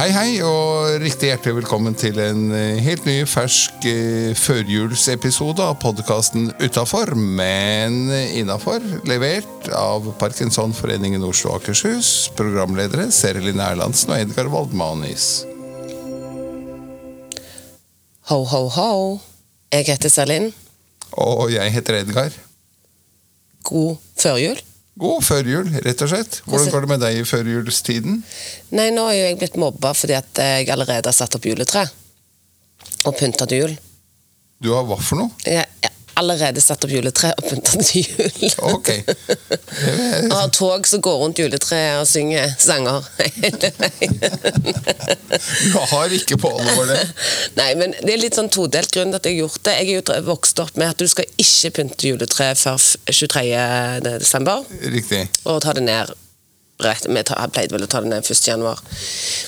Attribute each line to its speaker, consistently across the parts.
Speaker 1: Hei, hei, og riktig hjertelig velkommen til en eh, helt ny, fersk eh, førjulsepisode av podkasten Utafor, men innafor. Levert av Parkinsonforeningen Oslo og Akershus. Programledere Serelin Erlandsen og Edgar Waldmanis.
Speaker 2: Ho, ho, ho. Jeg heter Selin.
Speaker 1: Og jeg heter Edgar.
Speaker 2: God førjul.
Speaker 1: God førjul, rett og slett. Hvordan går det med deg i førjulstiden?
Speaker 2: Nei, nå er jo jeg blitt mobba fordi at jeg allerede har satt opp juletre. Og pynta til jul.
Speaker 1: Du har hva for noe?
Speaker 2: Jeg har allerede satt opp juletre og pynta til jul.
Speaker 1: Ok. Eh,
Speaker 2: Og har tog som går rundt juletreet og synger sanger.
Speaker 1: Du har ikke på alvor det.
Speaker 2: Nei, men det er litt sånn todelt grunn til at jeg har gjort det. Jeg er jo dre- vokst opp med at du skal ikke pynte juletreet før f- 23. desember.
Speaker 1: Riktig.
Speaker 2: og ta det ned rett, vi ta- jeg pleide vel å ta det ned 1. januar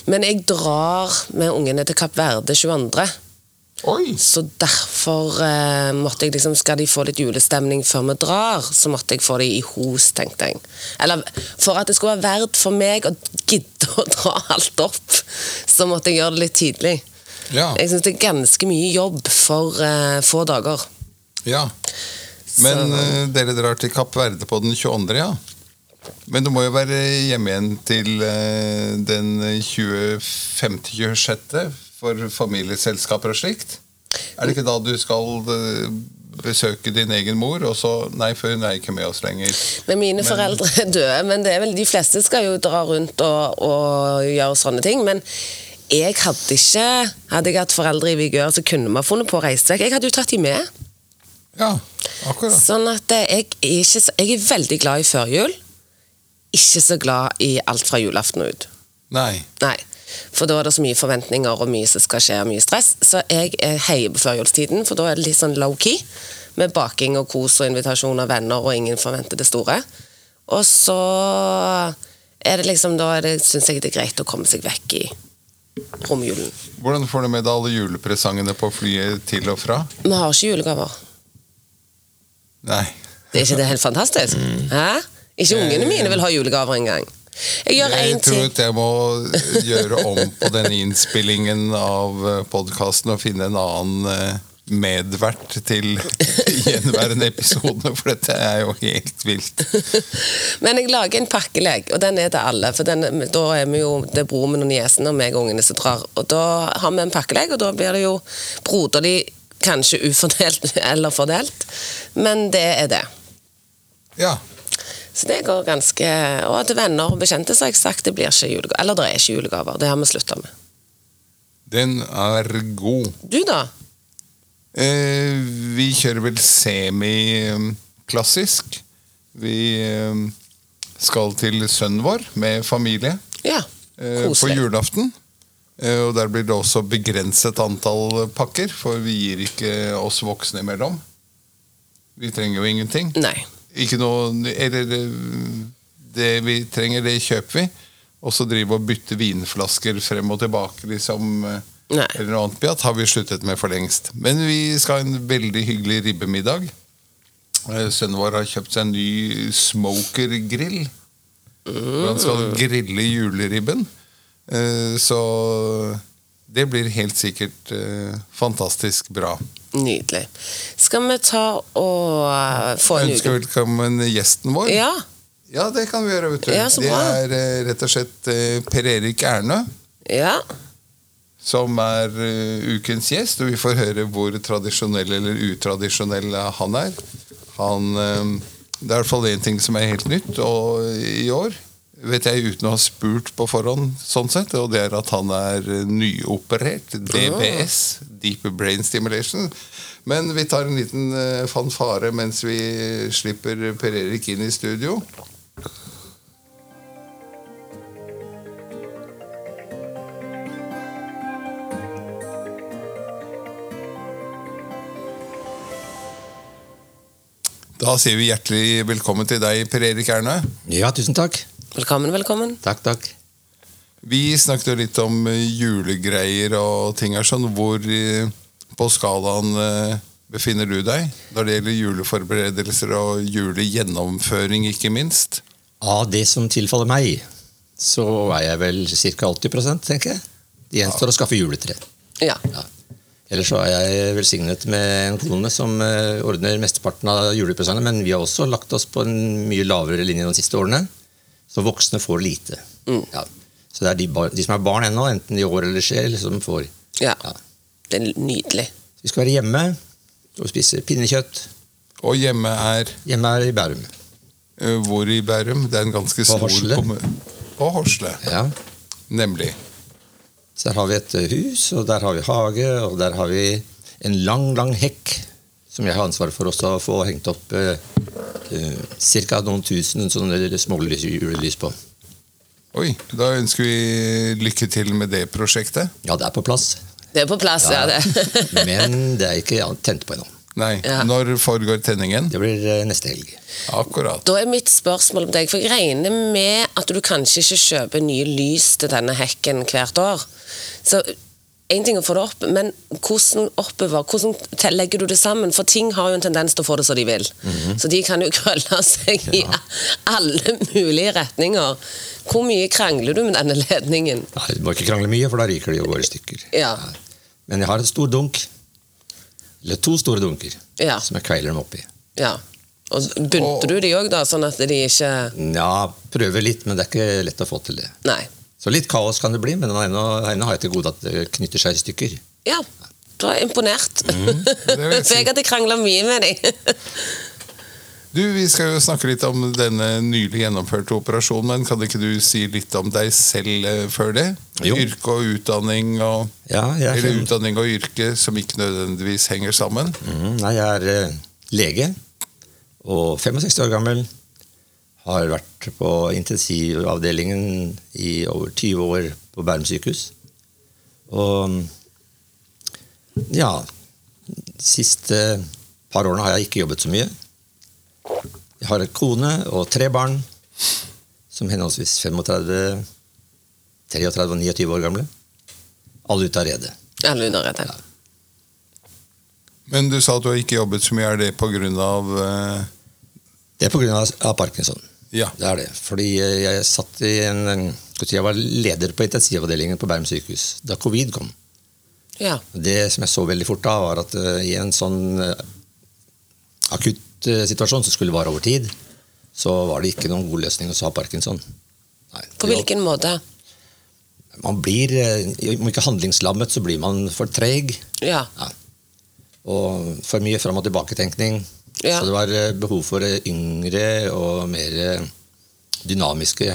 Speaker 2: men jeg drar med ungene til Kapp Verde 22.
Speaker 1: Oi!
Speaker 2: så derfor eh, måtte jeg liksom, skal de få litt julestemning før vi drar så måtte jeg få de i hos, tenkte jeg eller for at det skulle være verdt for meg å gidde å dra alt opp så måtte jeg gjøre det litt tidlig
Speaker 1: Ja.
Speaker 2: jeg synes det er ganske mye jobb for eh, få dager
Speaker 1: Ja, men
Speaker 2: Så-
Speaker 1: eh, dere drar til Kapp Verde på den 22., ja? Men du må jo være hjemme igjen til eh, den 25.-26. for familieselskaper og slikt? Er det ikke da du skal eh, besøke din egen mor, og så Nei, for hun er ikke med oss lenger.
Speaker 2: Men mine foreldre er døde, men det er vel, de fleste skal jo dra rundt og, og gjøre sånne ting. Men jeg hadde ikke Hadde jeg hatt foreldre i vigør, så kunne vi ha funnet på å reise vekk. Jeg hadde jo tatt de med.
Speaker 1: Ja, akkurat.
Speaker 2: Sånn at eh, jeg er, ikke, så- jeg er veldig glad i førjul. Ikke så glad i alt fra julaften og ut.
Speaker 1: Nei.
Speaker 2: Nei. For da er det så mye forventninger og mye som skal skje og mye stress. Så jeg eh, heier på førjulstiden, for da er det litt sånn low-key. Med baking og kos og invitasjon av venner, og ingen forventer det store. Og så er det liksom Da syns jeg det er greit å komme seg vekk i romjulen.
Speaker 1: Hvordan får du med deg alle julepresangene på flyet til og fra?
Speaker 2: Vi har ikke julegaver.
Speaker 1: Nei.
Speaker 2: Er ikke det helt fantastisk? Hæ? Ikke ungene mine vil ha julegaver engang. Jeg gjør
Speaker 1: Jeg
Speaker 2: én
Speaker 1: tror
Speaker 2: ting.
Speaker 1: at jeg må gjøre om på denne innspillingen av podkasten og finne en annen eh, medvert til gjenværende episode, for dette er jo helt vilt.
Speaker 2: Men jeg lager en pakkelek, og den er til alle. For den, da er vi jo, det er broren min og niesen og meg og ungene som drar. Og da har vi en pakkelek, og da blir det jo broderlig, kanskje ufordelt eller fordelt. Men det er det.
Speaker 1: Ja.
Speaker 2: Så det går ganske Og til venner og bekjente så har jeg sagt det blir ikke julegaver. Eller det er ikke julegaver. Det har vi slutta med.
Speaker 1: Den er god.
Speaker 2: Du, da?
Speaker 1: Eh, vi kjører vel semi-klassisk. Vi eh, skal til sønnen vår med familie.
Speaker 2: Ja.
Speaker 1: eh, på
Speaker 2: Koselig.
Speaker 1: julaften. Eh, Og der blir det også begrenset antall pakker, for vi gir ikke oss voksne imellom. Vi trenger jo ingenting.
Speaker 2: Nei.
Speaker 1: Ikke noe Eller det, det vi trenger, det kjøper vi. Og så drive og bytte vinflasker frem og tilbake, liksom. eh,
Speaker 2: Nei.
Speaker 1: Eller noe annet pjatt har vi sluttet med for lengst. Men vi skal ha en veldig hyggelig ribbemiddag. Eh, Sønnen vår har kjøpt seg en ny smokergrill. Hvor han skal
Speaker 2: Mm.
Speaker 1: grille juleribben. Eh, Så det blir helt sikkert eh, fantastisk bra.
Speaker 2: Nydelig. Skal vi ta og eh, få en
Speaker 1: Ønsker
Speaker 2: uke?
Speaker 1: velkommen gjesten vår.
Speaker 2: Ja.
Speaker 1: Ja, det kan vi gjøre. vet du.
Speaker 2: Ja, så
Speaker 1: det
Speaker 2: bra.
Speaker 1: er eh, rett og slett eh, Per Erik Ernø
Speaker 2: Ja.
Speaker 1: som er eh, ukens gjest. Og vi får høre hvor tradisjonell eller utradisjonell han er. Han, eh, det er i hvert fall én ting som er helt nytt og i år, vet jeg uten å ha spurt på forhånd, sånn sett, og det er at han er eh, nyoperert. DBS, Deep Brain Stimulation. Men vi tar en liten eh, fanfare mens vi slipper Per Erik inn i studio. Da sier vi hjertelig velkommen til deg, Per Erik Erne.
Speaker 3: Ja, tusen takk.
Speaker 2: Velkommen, velkommen.
Speaker 3: Takk, takk.
Speaker 1: Vi snakket jo litt om eh, julegreier og ting her sånn. Hvor eh, på skalaen eh, befinner du deg når det gjelder juleforberedelser og julegjennomføring, ikke minst?
Speaker 3: Av det som tilfaller meg, så er jeg vel ca. 80 tenker jeg. Det gjenstår å skaffe juletre.
Speaker 2: Ja.
Speaker 3: Ja. Ellers så er jeg velsignet med en kone som eh, ordner mesteparten av julepresangene, men vi har også lagt oss på en mye lavere linje de siste årene. Så voksne får lite. Ja. Så det er de, bar- de som er barn ennå, enten i år eller sjel, som får.
Speaker 2: ja.
Speaker 3: Ja.
Speaker 2: Det er nydelig.
Speaker 3: Vi skal være hjemme og spise pinnekjøtt.
Speaker 1: Og hjemme er
Speaker 3: Hjemme er i Bærum.
Speaker 1: eh, hvor i Bærum? Det er en ganske stor
Speaker 3: Horsle.
Speaker 1: kommu- På Horsle,
Speaker 3: Ja.
Speaker 1: nemlig.
Speaker 3: Så der har vi et eh, hus, og der har vi hage, og der har vi en lang, lang hekk som jeg har ansvaret for også å få hengt opp eh, eh, ca. noen tusen sånne små lys- julelys på.
Speaker 1: Oi, da ønsker vi lykke til med det prosjektet.
Speaker 3: Ja, det er på plass,
Speaker 2: Det er på plass, ja.
Speaker 3: Ja.
Speaker 2: det.
Speaker 3: men det er ikke ja, tent på ennå.
Speaker 1: Nei,
Speaker 2: Ja.
Speaker 1: når foregår tenningen?
Speaker 3: Det blir eh, neste helg.
Speaker 1: Akkurat.
Speaker 2: Da er mitt spørsmål om deg, for jeg regner med at du kanskje ikke kjøper nye lys til denne hekken hvert år. Så én ting er å få det opp, men hvordan oppbevar, hvordan te- legger du det sammen? For ting har jo en tendens til å få det som de vil.
Speaker 3: Mhm.
Speaker 2: Så de kan jo krølle seg i alle mulige retninger. Hvor mye krangler du med denne ledningen?
Speaker 3: Nei, Du må ikke krangle mye, for da ryker det jo bare i stykker.
Speaker 2: Ja.
Speaker 3: Men jeg har en stor dunk. Eller to store dunker
Speaker 2: Ja.
Speaker 3: som jeg kveiler dem oppi.
Speaker 2: ja. Og bunter du de òg, da, sånn at de ikke
Speaker 3: Ja, prøver litt, men det er ikke lett å få til det.
Speaker 2: Nei.
Speaker 3: Så litt kaos kan det bli, men ennå ennå har jeg til gode at det knytter seg i stykker.
Speaker 2: Ja. Du er imponert.
Speaker 1: Mhm, vil jeg si.
Speaker 2: For jeg hadde krangla mye med dem.
Speaker 1: Du, Vi skal jo snakke litt om denne nylig gjennomførte operasjonen, men kan ikke du si litt om deg selv eh, før det?
Speaker 3: Jo.
Speaker 1: Yrke og utdanning, og,
Speaker 3: Ja, jeg er,
Speaker 1: eller utdanning og yrke som ikke nødvendigvis henger sammen.
Speaker 3: Mm, nei, jeg er eh, lege og 65 år gammel. Har vært på intensivavdelingen i over 20 år på Bærum sykehus. Og mm, ja Siste par årene har jeg ikke jobbet så mye. Jeg har en kone og tre barn som henholdsvis 35, 33 og 29 år gamle. Alle ute av redet.
Speaker 2: Alle under redde.
Speaker 1: Men du sa at du har ikke jobbet så mye. Er det på grunn av eh,
Speaker 3: Det er pga. parkinson.
Speaker 1: Ja.
Speaker 3: Det er det. Fordi eh, jeg satt i en en- skal vi si, Jeg var leder på intensivavdelingen på Bærum sykehus da covid kom.
Speaker 2: Ja.
Speaker 3: Det som jeg så veldig fort da, var at eh, i en sånn eh, akutt eh, situasjon som skulle vare over tid, så var det ikke noen god løsning å ha parkinson. Nei,
Speaker 2: På hvilken måte?
Speaker 3: Man blir, eh, Om ikke handlingslammet, så blir man for treg.
Speaker 2: Ja.
Speaker 3: Og for mye fram- og tilbaketenkning.
Speaker 2: Ja.
Speaker 3: Så det var eh, behov for eh, yngre og mer eh, dynamiske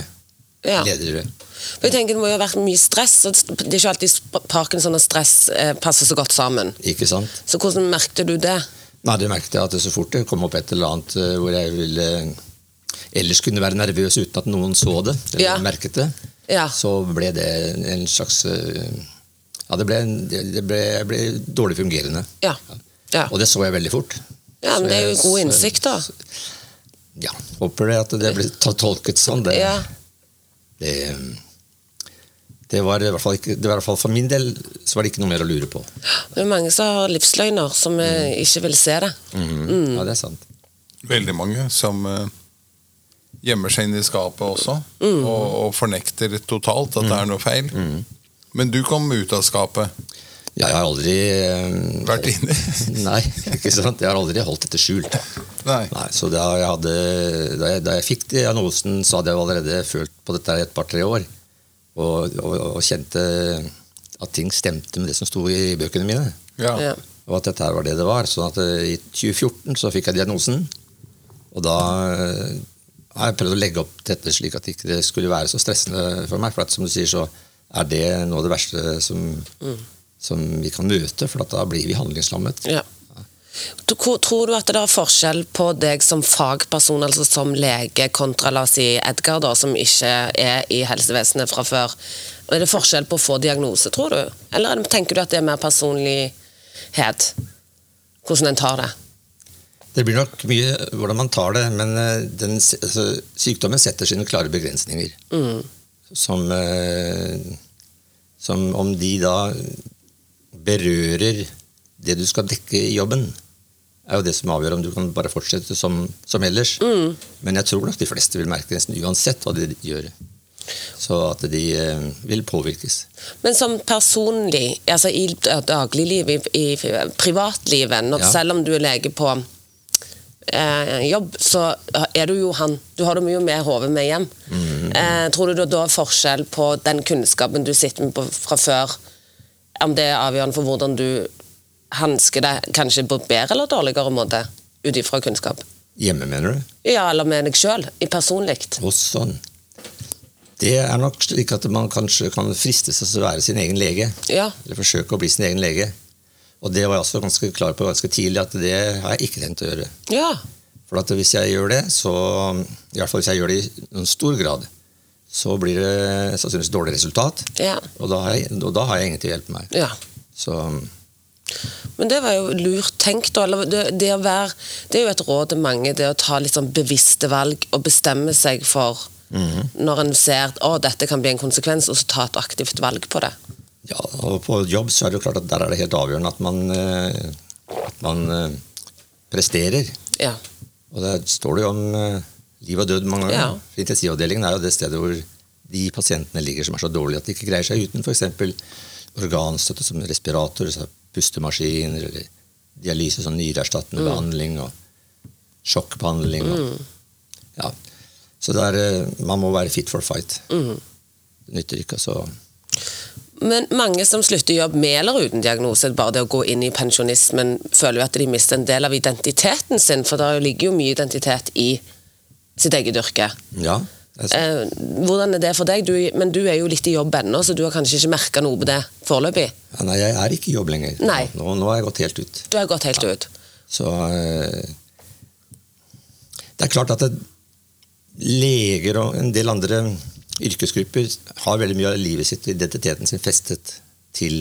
Speaker 2: ja.
Speaker 3: ledere.
Speaker 2: For Jeg tenker Det må jo ha vært mye stress. og Det er ikke alltid sp- parkinson og stress eh, passer så godt sammen.
Speaker 3: Ikke sant?
Speaker 2: Så hvordan merkte du det?
Speaker 3: Nei, det merket jeg at det så fort det kom opp et eller annet eh, hvor jeg ville ellers kunne være nervøs uten at noen så det, eller
Speaker 2: Ja.
Speaker 3: merket det,
Speaker 2: Ja.
Speaker 3: så ble det en slags eh, Ja, det ble, en- det ble, jeg ble dårlig fungerende.
Speaker 2: Ja. Ja,
Speaker 3: Og det så jeg veldig fort.
Speaker 2: ja men
Speaker 3: Så
Speaker 2: Det er
Speaker 3: jeg-
Speaker 2: jo god
Speaker 3: så-
Speaker 2: innsikt, da.
Speaker 3: Ja. Håper det at det ble ta- tolket sånn.
Speaker 1: eh,
Speaker 3: Det,
Speaker 2: Ja.
Speaker 3: det, det var i hvert fall ikke det var i hvert fall For min del så var det ikke noe mer å lure på.
Speaker 2: Det er mange som har livsløgner, som eh,
Speaker 1: Mm.
Speaker 2: ikke vil se det.
Speaker 3: Ja, det er sant.
Speaker 1: Veldig mange som eh, gjemmer seg inn i skapet også,
Speaker 3: Mm.
Speaker 1: og, og fornekter totalt at det er noe feil. Men du kom ut av skapet.
Speaker 3: Jeg har aldri eh,
Speaker 1: Vært inne.
Speaker 3: Nei, ikke sant? Jeg har aldri holdt dette skjult.
Speaker 1: Nei.
Speaker 3: Nei, så da jeg, hadde, da jeg, da jeg fikk diagnosen, så hadde jeg jo allerede følt på dette her i et par-tre år. Og, og, og kjente at ting stemte med det som sto i bøkene mine.
Speaker 1: Ja.
Speaker 2: Ja.
Speaker 3: Og at dette her var det det var. sånn at eh, i 2014 så fikk jeg diagnosen. Og da eh, har jeg prøvd å legge opp dette slik at ikke det ikke skulle være så stressende for meg. For at, som du sier, så er det noe av det verste som, som vi kan møte. For at da blir vi handlingslammet.
Speaker 2: Ja. Du- hvor- Tror du at det er forskjell på deg som fagperson, altså som lege, kontra la oss si Edgar, da, som ikke er i helsevesenet fra før? Er det forskjell på å få diagnose, tror du? Eller er det- tenker du at det er mer personlighet? Hvordan en tar det?
Speaker 3: Det blir nok mye hvordan man tar det, men eh, den, se- altså, sykdommen setter sine klare begrensninger.
Speaker 2: Mm.
Speaker 3: Som, eh, som om de da berører det du skal dekke i jobben, er jo det som avgjør om du kan bare fortsette som, som ellers. Men jeg tror nok de fleste vil merke det nesten uansett hva de gjør. Så at de eh, vil påvirkes.
Speaker 2: Men som personlig, altså i d- dagliglivet, i, i privatlivet, når,
Speaker 3: Ja.
Speaker 2: selv om du er lege på eh, jobb, så er du jo han. Du har det mye med hodet med hjem. eh, tror du det da er forskjell på den kunnskapen du sitter med på fra før, om det er avgjørende for hvordan du hansker det, kanskje på bedre eller dårligere måte, ut ifra kunnskap?
Speaker 3: Hjemme, mener du?
Speaker 2: Ja, eller med deg sjøl, personlig.
Speaker 3: Og sånn. Det er nok slik at man kanskje kan fristes til å være sin egen lege.
Speaker 2: Ja.
Speaker 3: Eller forsøke å bli sin egen lege. Og det var jeg også ganske klar på ganske tidlig, at det har jeg ikke tenkt å gjøre.
Speaker 2: ja.
Speaker 3: For at hvis jeg gjør det, så I hvert fall hvis jeg gjør det i noen stor grad, så blir det sannsynligvis dårlig resultat.
Speaker 2: Ja.
Speaker 3: Og da har jeg, og da har jeg ingen til å hjelpe meg.
Speaker 2: ja.
Speaker 3: Så
Speaker 2: Men det var jo lurt tenkt, da. Eller det, det, å være, det er jo et råd til mange, det å ta litt sånn bevisste valg og bestemme seg for Når en ser at å, dette kan bli en konsekvens, og så ta et aktivt valg på det.
Speaker 3: ja, og på jobb så er det jo klart at der er det helt avgjørende at man, eh, at man eh, presterer.
Speaker 2: Ja.
Speaker 3: Og der står det jo om eh, liv og død mange ganger.
Speaker 2: Ja.
Speaker 3: For Intensivavdelingen er jo det stedet hvor de pasientene ligger som er så dårlige at de ikke greier seg uten f.eks. organstøtte som respirator, så pustemaskiner, eller dialyse, sånn nyreerstattende
Speaker 2: Mm.
Speaker 3: behandling, og sjokkbehandling. Og, ja. Så det er, eh, man må være fit for fight. Det nytter ikke. altså. Så
Speaker 2: Mhm. Men mange som slutter jobb med eller uten diagnose, bare det å gå inn i pensjonismen, føler jo at de mister en del av identiteten sin, for der ligger jo mye identitet i sitt eget yrke.
Speaker 3: ja. Altså, det er så-
Speaker 2: Eh, hvordan er det for deg? Du, men du er jo litt i jobb ennå, så du har kanskje ikke merka noe på det foreløpig?
Speaker 3: Ja, Nei, jeg er ikke i jobb lenger.
Speaker 2: Eh. Nei.
Speaker 3: Nå, nå har jeg gått helt ut.
Speaker 2: Du har gått helt ut.
Speaker 3: Så eh, Det er klart at det, leger og en del andre yrkesgrupper har veldig mye av livet sitt og identiteten sin festet til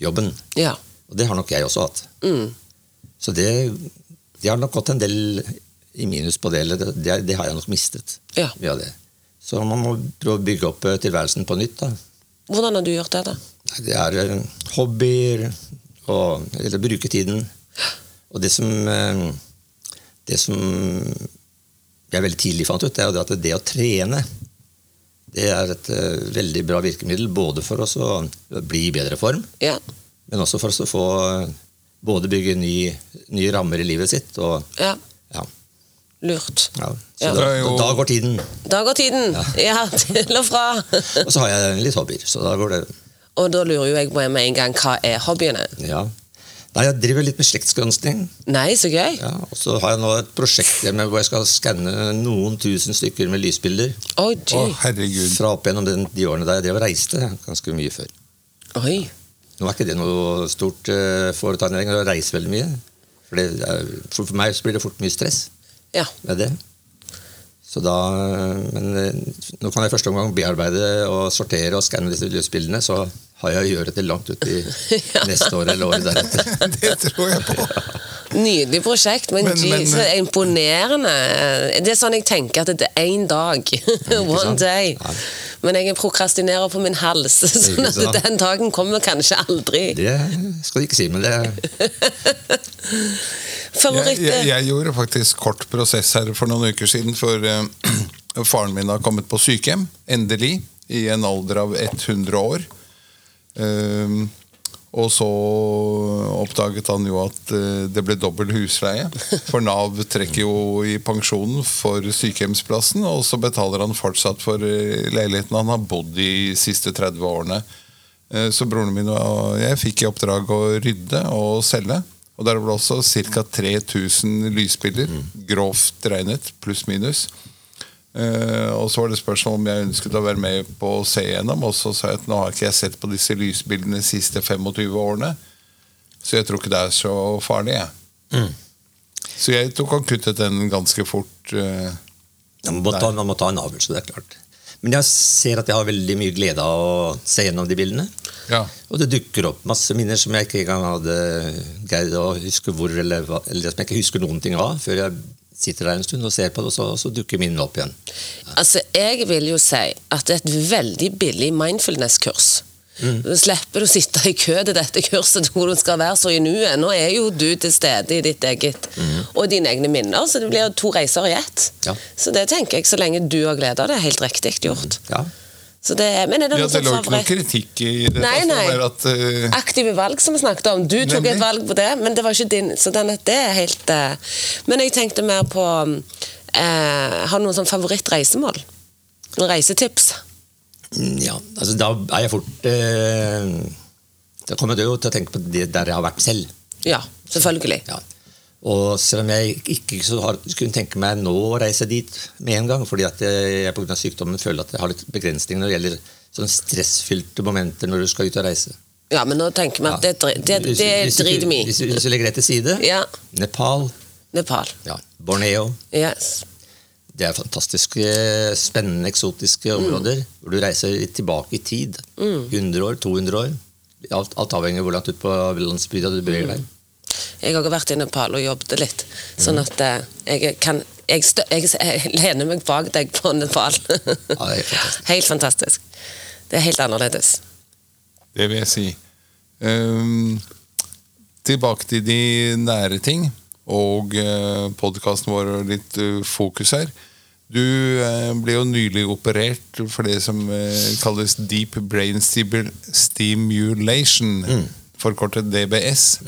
Speaker 3: jobben.
Speaker 2: Ja.
Speaker 3: Og det har nok jeg også hatt.
Speaker 2: Mm.
Speaker 3: Så det, det har nok gått en del i minus på det. Eller det, det, det har jeg nok mistet.
Speaker 2: Ja.
Speaker 3: mye av det. Så man må prøve å bygge opp eh, tilværelsen på nytt. da.
Speaker 2: Hvordan har du gjort det, da?
Speaker 3: Nei, Det er eh, hobbyer og eller bruke tiden. Og det som, eh, det som jeg veldig tidlig fant ut, det er jo det at det å trene det er et eh, veldig bra virkemiddel både for oss å bli i bedre form,
Speaker 2: Ja.
Speaker 3: men også for oss å få eh, både bygge ny, nye rammer i livet sitt og
Speaker 2: ja.
Speaker 3: ja.
Speaker 2: Lurt.
Speaker 3: ja. Så
Speaker 2: Ja.
Speaker 3: Da,
Speaker 1: Det er jo-
Speaker 3: da går tiden.
Speaker 2: Da går tiden! Ja, til og fra.
Speaker 3: Og så har jeg litt hobbyer, så da går det
Speaker 2: Og da lurer jo jeg på med en gang hva er hobbyene?
Speaker 3: Ja. Nei, jeg driver litt med slektsgransking.
Speaker 2: Nei, så gøy!
Speaker 3: Ja, og så har jeg nå et prosjekt hjemme hvor jeg skal skanne noen tusen stykker med lysbilder.
Speaker 1: Å,
Speaker 2: Oi, gee.
Speaker 1: herregud.
Speaker 3: Fra opp gjennom den, de årene da jeg drev og reiste ganske mye før.
Speaker 2: Oi.
Speaker 3: Nå er ikke det noe stort uh, foretagende lenger å reise veldig mye. For, det er, for for meg så blir det fort mye stress
Speaker 2: Ja.
Speaker 3: med det. Så da, men eh, nå kan jeg i første omgang bearbeide og sortere og skanne disse lysbildene. Så har jeg å gjøre til langt ut i neste år eller året deretter.
Speaker 1: Det tror jeg på.
Speaker 2: Nydelig prosjekt, men,
Speaker 1: Men-
Speaker 2: gee,
Speaker 1: men-
Speaker 2: så imponerende. Det er sånn jeg tenker at det er én dag. One
Speaker 3: sant?
Speaker 2: day.
Speaker 3: Ja.
Speaker 2: Men jeg prokrastinerer på min hals, sånn at
Speaker 3: sant?
Speaker 2: den dagen kommer kanskje aldri.
Speaker 3: Det skal du ikke si, men det
Speaker 1: Jeg,
Speaker 2: Favoritt eh?
Speaker 1: jeg, jeg gjorde faktisk kort prosess her for noen uker siden, for eh, faren min har kommet på sykehjem, endelig, i en alder av 100 år. Ehm, og så oppdaget han jo at eh, det ble dobbel husleie. For Nav trekker jo i pensjonen for sykehjemsplassen, og så betaler han fortsatt for eh, leiligheten han har bodd i de siste 30 årene. Eh, Så broren min og jeg fikk i oppdrag å rydde og selge. Og der var det også ca. 3000 lysbilder, grovt regnet, pluss minus. Eh, og så var det spørsmål om jeg ønsket å være med på å se gjennom. Og så sa jeg at nå har ikke jeg sett på disse lysbildene de siste 25 årene, så jeg tror ikke det er så farlig, jeg.
Speaker 3: Mm.
Speaker 1: Så jeg tok og kuttet den ganske fort. eh.
Speaker 3: Ja, Man må, ta, man må ta en avgjørelse, det er klart. Men jeg ser at jeg har veldig mye glede av å se gjennom de bildene.
Speaker 1: ja.
Speaker 3: Og det dukker opp masse minner som jeg ikke engang hadde greid å huske hvor, eller, hva- eller som jeg ikke husker noen ting av, før jeg sitter der en stund og ser på det, og så, og så dukker minnene opp igjen.
Speaker 2: Altså, jeg vil jo si at det er et veldig billig mindfulness-kurs.
Speaker 1: Mm.
Speaker 2: Da slipper du å sitte i kø til dette kurset hvor du skal være så i nuet. Nå er jo du til stede i ditt eget
Speaker 1: Mm.
Speaker 2: og dine egne minner, så det blir jo to reiser i ett.
Speaker 3: Ja.
Speaker 2: Så det tenker jeg, så lenge du har glede av det, er helt riktig gjort.
Speaker 3: Ja.
Speaker 2: Så det, er- men er det
Speaker 1: Mm. Ja,
Speaker 2: noen
Speaker 1: det
Speaker 2: som
Speaker 1: lå ikke noe
Speaker 2: favoritt?
Speaker 1: kritikk i det.
Speaker 2: Nei,
Speaker 1: altså,
Speaker 2: nei.
Speaker 1: bare at, eh,
Speaker 2: aktive valg som vi snakket om. Du tok
Speaker 1: Nemlig.
Speaker 2: et valg på det, men det var ikke din. Så den, det er helt eh, Men jeg tenkte mer på eh, Har du noen sånn favorittreisemål? Noen reisetips?
Speaker 3: Mm, ja. Altså, da er jeg fort eh, Da kommer jeg jo til å tenke på det der jeg har vært selv.
Speaker 2: Ja, selvfølgelig.
Speaker 3: Ja. Og selv om jeg ikke så har, skulle tenke meg nå å reise dit med en gang, fordi at jeg pga. sykdommen føler at jeg har litt begrensninger når det gjelder sånn stressfylte momenter når du skal ut og reise.
Speaker 2: Ja, men nå tenker vi at det, dri- det,
Speaker 3: Hvis-
Speaker 2: det
Speaker 3: hvis du-
Speaker 2: driter vi i.
Speaker 3: Hvis, du- hvis du legger det til side.
Speaker 2: Ja.
Speaker 3: Nepal,
Speaker 2: Nepal.
Speaker 3: ja. Borneo.
Speaker 2: Yes.
Speaker 3: Det er fantastiske, spennende,
Speaker 2: Mm.
Speaker 3: eksotiske områder hvor du reiser litt tilbake i tid. 100 år, 200 år. Alt, alt avhengig av hvor langt ut på landsbygda du beveger
Speaker 2: Mm.
Speaker 3: deg.
Speaker 2: Jeg har også vært i Nepal og jobbet litt, sånn at eh, jeg kan jeg, stø, jeg, jeg lener meg bak deg på Nepal.
Speaker 3: Ja, det er fantastisk.
Speaker 2: helt fantastisk. Det er helt annerledes.
Speaker 1: det vil jeg si. Ehm, tilbake til de nære ting og uh, podkasten vår og litt eh, fokus her. Du eh, ble jo nylig operert for det som eh, kalles deep brain stimul- stimulation, forkortet DBS.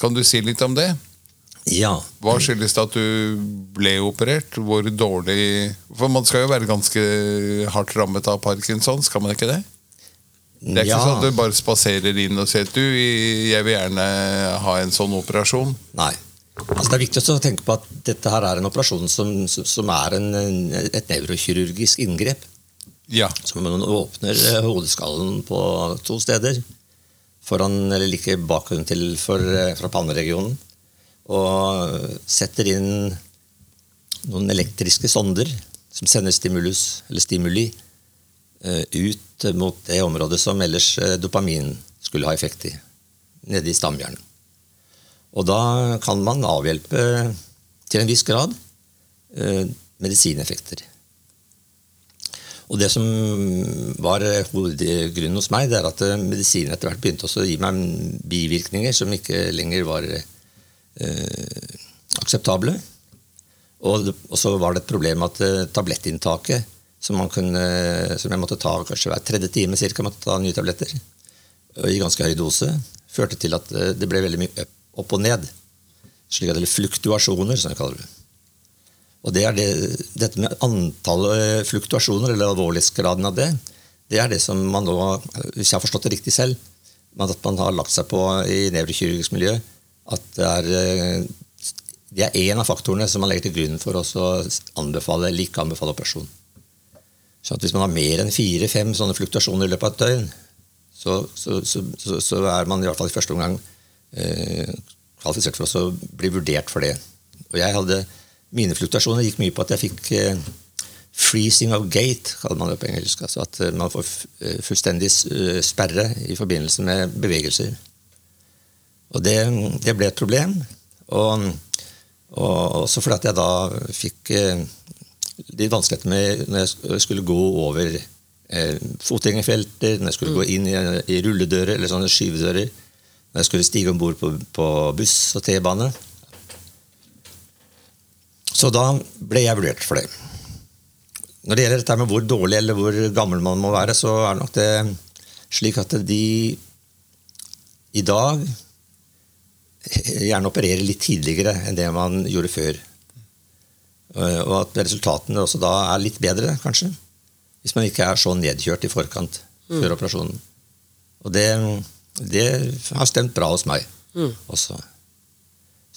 Speaker 1: Kan du si litt om det?
Speaker 3: Ja.
Speaker 1: Hva skyldes det at du ble operert? Hvor dårlig For man skal jo være ganske hardt rammet av Parkinson, skal man ikke det? Det er ikke
Speaker 3: ja.
Speaker 1: sånn at du bare spaserer inn og sier du, jeg vil gjerne ha en sånn operasjon.
Speaker 3: Nei. Altså, det er viktig også å tenke på at dette her er en operasjon som, som- som er en, en- et nevrokirurgisk inngrep.
Speaker 1: Ja.
Speaker 3: Så man åpner eh, hodeskallen på to steder. Foran, eller like bakgrunnen til for, eh, fra panneregionen. Og setter inn noen elektriske sonder som sender stimulus, eller stimuli eh, ut mot det området som ellers eh, dopamin skulle ha effekt i. Nede i stamhjernen. Og da kan man avhjelpe eh, til en viss grad eh, medisineffekter. Og det som var eh, hovedgrunnen hos meg, det er at eh, medisinen etter hvert begynte også å gi meg bivirkninger som ikke lenger var eh, akseptable. Og, det- og så var det et problem at eh, tablettinntaket, som, man kunne, som jeg måtte ta kanskje hver tredje time cirka, måtte ta nye tabletter og i ganske høy dose, førte til at eh, det ble veldig mye opp- opp og ned. Slik at det ble fluktuasjoner, som jeg kaller det. Og det er det, dette med antallet eh, fluktuasjoner, eller alvorlighetsgraden av det, det er det som man nå, hvis jeg har forstått det riktig selv, men at man har lagt seg på i nevrokirurgisk miljø, at det er eh, det er én av faktorene som man legger til grunn for også å anbefale eller ikke anbefale operasjon. Så at hvis man har mer enn fire-fem sånne fluktuasjoner i løpet av et døgn, så, så, så, så, så er man i hvert fall i første omgang eh, kvalifisert for å bli vurdert for det. Og jeg hadde, Mine fluktuasjoner gikk mye på at jeg fikk eh, freezing of gate, kaller man det på engelsk. Altså at eh, man får f- eh, fullstendig s- eh, sperre i forbindelse med bevegelser. Og det, det ble et problem. Og, og også fordi at jeg da fikk eh, litt vanskeligheter med når jeg sk- skulle gå over eh, fotgjengerfelter, når jeg skulle gå inn i, i rulledører eller sånne skyvedører, når jeg skulle stige om bord på, på buss og T-bane. Så da ble jeg vurdert for det. Når det gjelder dette med hvor dårlig eller hvor gammel man må være, så er det nok det slik at de i dag gjerne operere litt tidligere enn det man gjorde før. Eh, Og at resultatene også da er litt bedre, kanskje. Hvis man ikke er så nedkjørt i forkant før operasjonen. Og det, det har stemt bra hos meg også.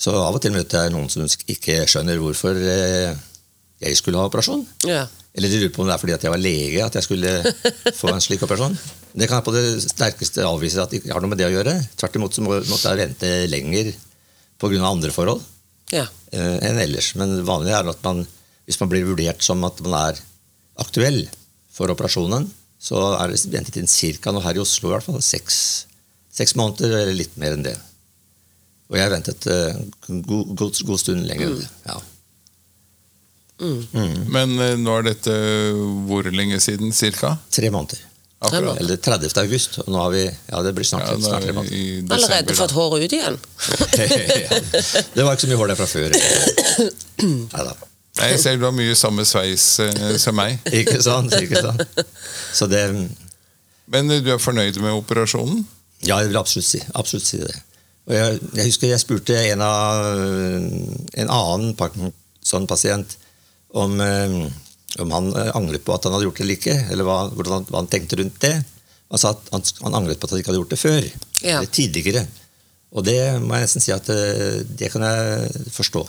Speaker 3: Så av og til møter jeg noen som ikke skjønner hvorfor eh, jeg skulle ha operasjon.
Speaker 2: Ja.
Speaker 3: Eller de lurer på om det er fordi at jeg var lege at jeg skulle få en slik operasjon. Det kan jeg på det sterkeste avvise at det ikke har noe med det å gjøre. Tvert imot så må- måtte jeg vente lenger pga. andre forhold
Speaker 2: ja.
Speaker 3: eh, enn ellers. Men det vanlige er at man, hvis man blir vurdert som at man er aktuell for operasjonen, så er det ventetiden cirka nå her i Oslo i hvert fall seks, seks måneder, eller litt mer enn det. Og jeg ventet eh, en god, god, god stund lenger. enn det, Ja.
Speaker 1: Men eh, nå er dette hvor lenge siden, cirka?
Speaker 3: Tre måneder.
Speaker 1: Ok.
Speaker 2: Tre
Speaker 1: akkurat.
Speaker 2: måneder.
Speaker 3: Eller 30. august. Og nå har vi Ja, det blir snart,
Speaker 1: Ja, nå
Speaker 3: snart
Speaker 1: er
Speaker 3: tre måneder.
Speaker 1: vi i
Speaker 2: Allerede
Speaker 1: desember,
Speaker 2: fått
Speaker 1: da.
Speaker 2: håret ut igjen.
Speaker 3: det var ikke så mye hår der fra før. Nei da.
Speaker 1: Nei, Jeg ser du har mye samme sveis eh, som meg.
Speaker 3: Ikke sant? Ikke sant? Så det
Speaker 1: Men eh, du er fornøyd med operasjonen?
Speaker 3: Ja, jeg vil absolutt si, absolutt si det. Og jeg, jeg husker jeg spurte en, av, øh, en annen Parkinson-pasient om, eh, om han eh, angret på at han hadde gjort det eller ikke, eller hva, hvordan, han- hva han tenkte rundt det. Han sa at han, han angret på at han ikke hadde gjort det før.
Speaker 2: Ja.
Speaker 3: Eller tidligere. Og det må jeg nesten si at eh, det kan jeg forstå.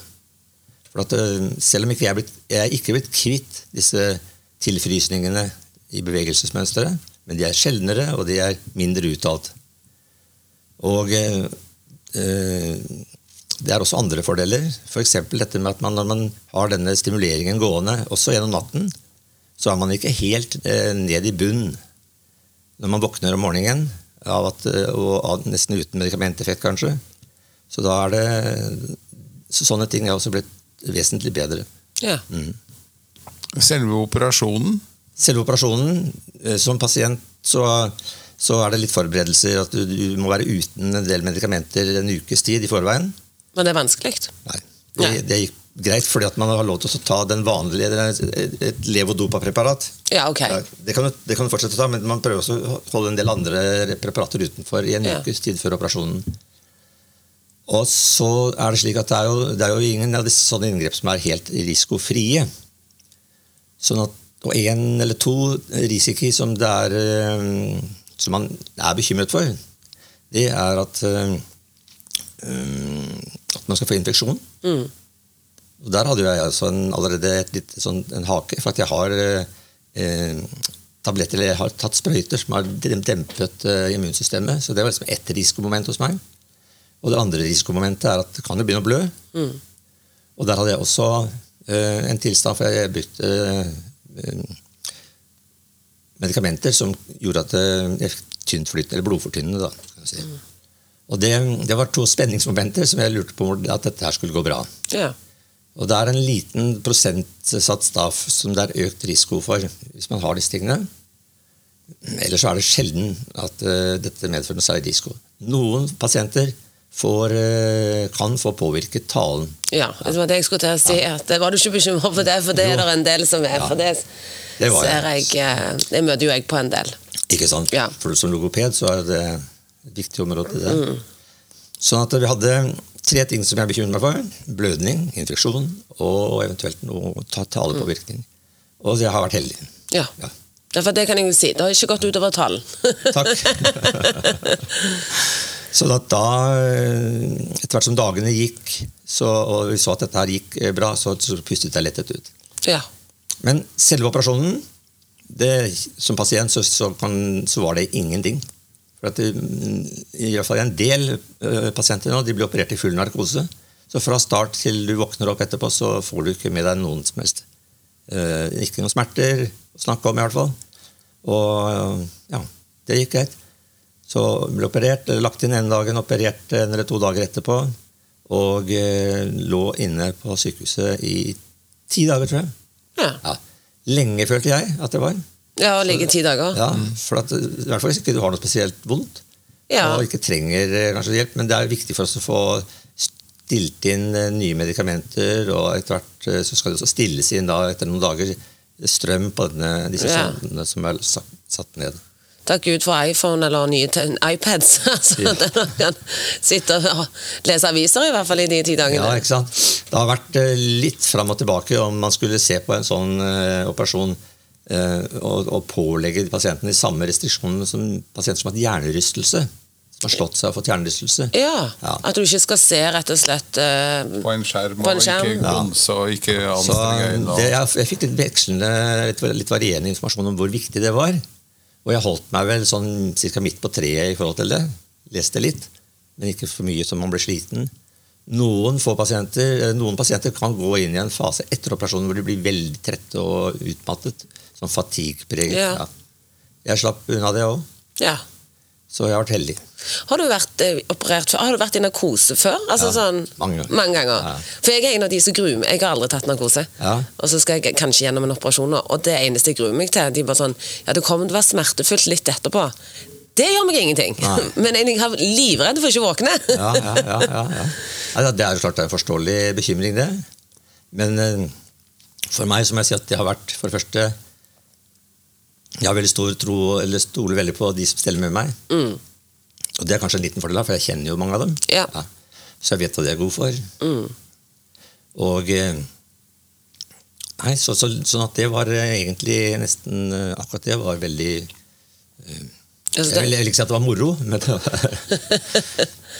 Speaker 3: For at eh, selv om ikke jeg, er blitt, jeg er ikke blitt kvitt disse tilfrysningene i bevegelsesmønsteret, men de er sjeldnere, og de er mindre uttalt. Og eh, eh, det er også andre fordeler. F.eks. For dette med at man, når man har denne stimuleringen gående også gjennom natten, så er man ikke helt eh, ned i bunn når man våkner om morgenen, av at, eh, og av, nesten uten medikamenteffekt kanskje. Så da er det så Sånne ting er også blitt vesentlig bedre. Mm.
Speaker 2: Ja.
Speaker 1: Selve operasjonen?
Speaker 3: Selve operasjonen, eh, som pasient, så, så er det litt forberedelser. At du, du må være uten en del medikamenter en ukes tid i forveien.
Speaker 2: Men det er vanskelig.
Speaker 3: Nei. Det,
Speaker 2: Nei.
Speaker 3: det gikk greit, fordi at man har lov til å ta den vanlige det er et levodopa-preparat.
Speaker 2: Ja, ok.
Speaker 3: Ja, Det, kan du- det kan du fortsette å ta, men man prøver også å holde en del andre preparater utenfor i en
Speaker 2: Ja.
Speaker 3: ukes tid før operasjonen. Og så er Det slik at det er jo, det er jo ingen av disse sånne inngrep som er helt risikofrie. Sånn at, og én eller to risiki som, det er, eh, som man er bekymret for, det er at, eh, eh, at man skal få infeksjon.
Speaker 2: Mm.
Speaker 3: Og Der hadde jo jeg altså en, allerede et litt, sånn, en hake, for at jeg har eh, eh, tabletter, eller jeg har tatt sprøyter som har dem- dempet eh, immunsystemet. Så det var liksom ett risikomoment hos meg. Og det andre risikomomentet er at det kan jo begynne å blø.
Speaker 2: Mm.
Speaker 3: Og der hadde jeg også eh, en tilstand, for jeg brukte eh, eh, medikamenter som gjorde at eh, jeg fikk tyntflytende, eller blodfortynnende, da. Skal vi si. Og det, det var to spenningsmomenter som jeg lurte på om at dette her skulle gå bra.
Speaker 2: Ja.
Speaker 3: Og det er en liten prosentsats da, f- som det er økt risiko for hvis man har disse tingene. Ellers så er det sjelden at eh, dette medfører noe særlig risiko. Noen pasienter får, eh, kan få påvirket talen.
Speaker 2: ja. Det var det jeg skulle til å si. At, eh, var du ikke bekymra for det? For det er
Speaker 3: Jo.
Speaker 2: det en del som er.
Speaker 3: Ja.
Speaker 2: For det
Speaker 3: Det var
Speaker 2: ser
Speaker 3: jeg.
Speaker 2: jeg eh, Det møter jo jeg på en del.
Speaker 3: Ikke sant?
Speaker 2: Ja.
Speaker 3: For som logoped så er det et viktig område. Det.
Speaker 2: Mm.
Speaker 3: Sånn at vi hadde tre ting som jeg bekymret meg for. Blødning, infeksjon og eventuelt noe
Speaker 2: Mm.
Speaker 3: ta- talepåvirkning. Og jeg har vært heldig.
Speaker 2: Ja.
Speaker 3: Ja.
Speaker 2: ja. For det kan jeg jo si. Det har ikke gått utover talen.
Speaker 3: Takk. Så da, da eh, Etter hvert som dagene gikk, så, og vi så at dette her gikk eh, bra, så, så pustet jeg lettet ut.
Speaker 2: ja.
Speaker 3: Men selve operasjonen det, Som pasient så, så, kan, så var det ingenting. For at det, mm, I hvert fall en del eh, pasienter nå, de blir operert i full narkose. Så fra start til du våkner opp etterpå, så får du ikke med deg noen som helst. Eh, ikke noen smerter å snakke om, i hvert fall. Og eh, ja, det gikk greit. Så ble operert, eh, lagt inn ene dagen, operert en eller to dager etterpå. Og eh, lå inne på sykehuset i ti dager, tror jeg.
Speaker 2: ja.
Speaker 3: Ja. Lenge følte jeg at det var.
Speaker 2: Ja, og ligge ti dager.
Speaker 3: Ja, for at, I hvert fall hvis ikke du har noe spesielt vondt
Speaker 2: Mm. Ja.
Speaker 3: og ikke trenger eh, kanskje hjelp. Men det er viktig for oss å få stilt inn eh, nye medikamenter, og etter hvert eh, så skal det også stilles inn da, etter noen dager strøm på denne, disse
Speaker 2: Ja.
Speaker 3: sondene som er satt, satt ned.
Speaker 2: Takk Gud for iPhone eller nye te- iPads. Så
Speaker 3: Ja.
Speaker 2: man kan sitte og lese aviser, i hvert fall i de ti dagene.
Speaker 3: Ja, ikke sant? Det har vært eh, litt fram og tilbake om man skulle se på en sånn eh, operasjon eh, og, og pålegge pasienten de samme restriksjonene som pasienter som har hatt hjernerystelse. Som har slått seg og fått hjernerystelse.
Speaker 2: Ja,
Speaker 3: Ja.
Speaker 2: At du ikke skal se rett og slett eh,
Speaker 1: På en skjerm,
Speaker 2: På en skjerm.
Speaker 1: og ikke
Speaker 3: Ja.
Speaker 1: gonse og ikke
Speaker 3: Så
Speaker 1: anstrenge
Speaker 3: eh,
Speaker 1: øynene.
Speaker 3: det, jeg, jeg fikk litt vekslende, litt, litt varierende informasjon om hvor viktig det var. Og jeg holdt meg vel sånn cirka midt på treet i forhold til det. Leste litt, men ikke for mye så man ble sliten. Noen, få pasienter, eh, noen pasienter kan gå inn i en fase etter operasjonen hvor de blir veldig trette og utmattet. Sånn fatigue-preget.
Speaker 2: Ja.
Speaker 3: Ja. Jeg slapp unna det òg.
Speaker 2: Ja.
Speaker 3: Så jeg har vært heldig.
Speaker 2: Har du vært eh, operert før? Har du vært i narkose før? Altså,
Speaker 3: Ja,
Speaker 2: sånn,
Speaker 3: mange ganger. Ja.
Speaker 2: For jeg er en av de som gruer meg. Jeg har aldri tatt narkose.
Speaker 3: Ja.
Speaker 2: Og så skal jeg kanskje gjennom en operasjon, nå, og det eneste jeg gruer meg til, de er bare sånn Ja, det kommer til å være smertefullt litt etterpå. Det gjør meg ingenting.
Speaker 3: Nei.
Speaker 2: Men jeg er livredd for ikke å våkne.
Speaker 3: Ja, ja, ja, ja, ja. Altså, Det er jo klart det er en forståelig bekymring, det. Men eh, for meg, som jeg sier at det har vært For det første Jeg har veldig stor tro, eller stoler veldig på de som steller med meg.
Speaker 2: Mm.
Speaker 3: Og det er kanskje en liten fordel, da, for jeg kjenner jo mange av dem.
Speaker 2: Ja.
Speaker 3: Så jeg vet hva de er gode for.
Speaker 2: Mm.
Speaker 3: Og eh, Nei, så, så, sånn at det var eh, egentlig nesten eh, Akkurat det var veldig
Speaker 2: Altså,
Speaker 3: Jeg vil
Speaker 2: det,
Speaker 3: jeg vil ikke si at det var moro, men det var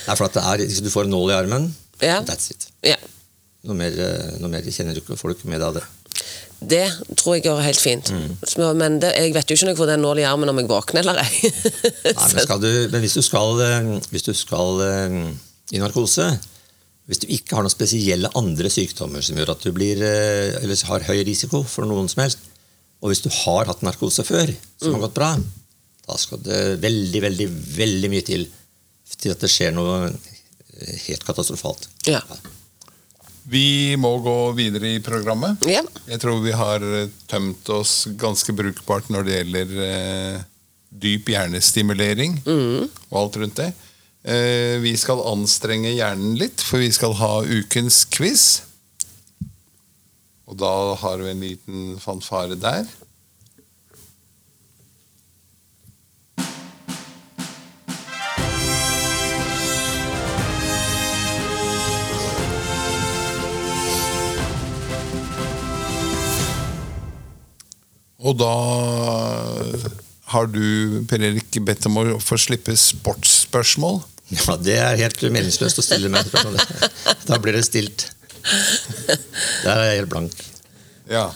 Speaker 3: Nei, for at det er, liksom, du får en nål i armen,
Speaker 2: Ja.
Speaker 3: and that's it.
Speaker 2: ja.
Speaker 3: Noe mer, eh, noe mer kjenner du ikke folk med deg av det.
Speaker 2: det tror jeg går helt fint.
Speaker 3: Mm.
Speaker 2: Så- Men det, jeg vet jo ikke når jeg får den nål i armen om jeg våkner eller ei.
Speaker 3: Nei, men, skal du, men hvis du skal, eh, hvis du skal eh, i narkose Hvis du ikke har noen spesielle andre sykdommer som gjør at du blir, eh, eller har høy risiko for noen som helst, og hvis du har hatt narkose før, som har gått bra, da skal det veldig, veldig, veldig mye til til at det skjer noe eh, helt katastrofalt.
Speaker 2: Ja.
Speaker 1: Vi må gå videre i programmet.
Speaker 2: Ja.
Speaker 1: Jeg tror vi har eh, tømt oss ganske brukbart når det gjelder eh, dyp hjernestimulering
Speaker 2: mm.
Speaker 1: og alt rundt det. Eh, vi skal anstrenge hjernen litt, for vi skal ha ukens quiz. Og da har vi en liten fanfare der. Og da har du, Per Erik, bedt om å få slippe sportsspørsmål.
Speaker 3: Ja, Det er helt meningsløst å stille meg spørsmål. Da blir det stilt. Der er jeg helt blank.
Speaker 1: Ja.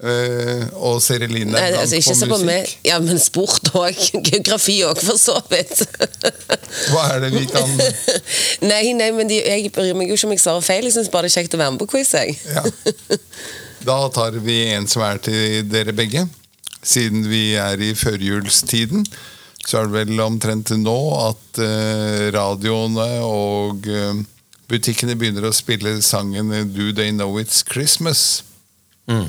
Speaker 1: Eh, og Seri Line
Speaker 2: Nei,
Speaker 1: er blant
Speaker 2: altså, ikke se
Speaker 1: på
Speaker 2: på meg.
Speaker 1: musikk.
Speaker 2: Ja, men sport òg. Geografi òg, for så vidt.
Speaker 1: Hva er det vi kan
Speaker 2: nei, nei, men de, jeg bryr meg jo ikke om jeg svarer feil. Jeg syns bare det er kjekt å være med på quiz, jeg.
Speaker 1: Ja. Da tar vi en som er til dere begge. Siden vi er i førjulstiden, så er det vel omtrent til nå at eh, radioene og eh, butikkene begynner å spille sangen Do They Know It's Christmas.
Speaker 3: Mm.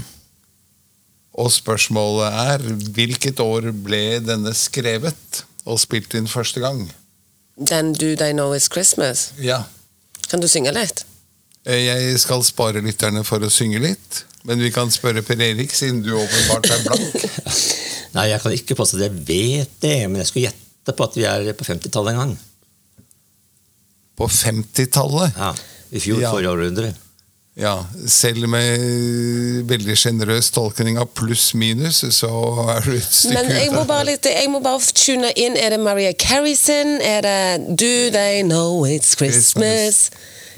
Speaker 1: Og spørsmålet er hvilket år ble denne skrevet og spilt inn første gang?
Speaker 2: Then do they know it's Christmas?
Speaker 1: Ja.
Speaker 2: Kan du synge litt?
Speaker 1: Eh, Jeg skal spare lytterne for å synge litt. Men vi kan spørre Per Erik, siden du åpenbart er blank.
Speaker 3: Nei, jeg kan ikke påstå at jeg vet det, men jeg skulle gjette på at vi er på 50-tallet en gang.
Speaker 1: På 50-tallet,
Speaker 3: Ja. I fjor,
Speaker 1: Ja.
Speaker 3: forrige århundre.
Speaker 1: ja, selv med veldig sjenerøs tolkning av pluss-minus, så er du et stykke
Speaker 2: Men jeg må
Speaker 1: ute.
Speaker 2: bare litt, jeg må bare tune inn. Er det Maria Carey sin? Er det Do they know it's Christmas?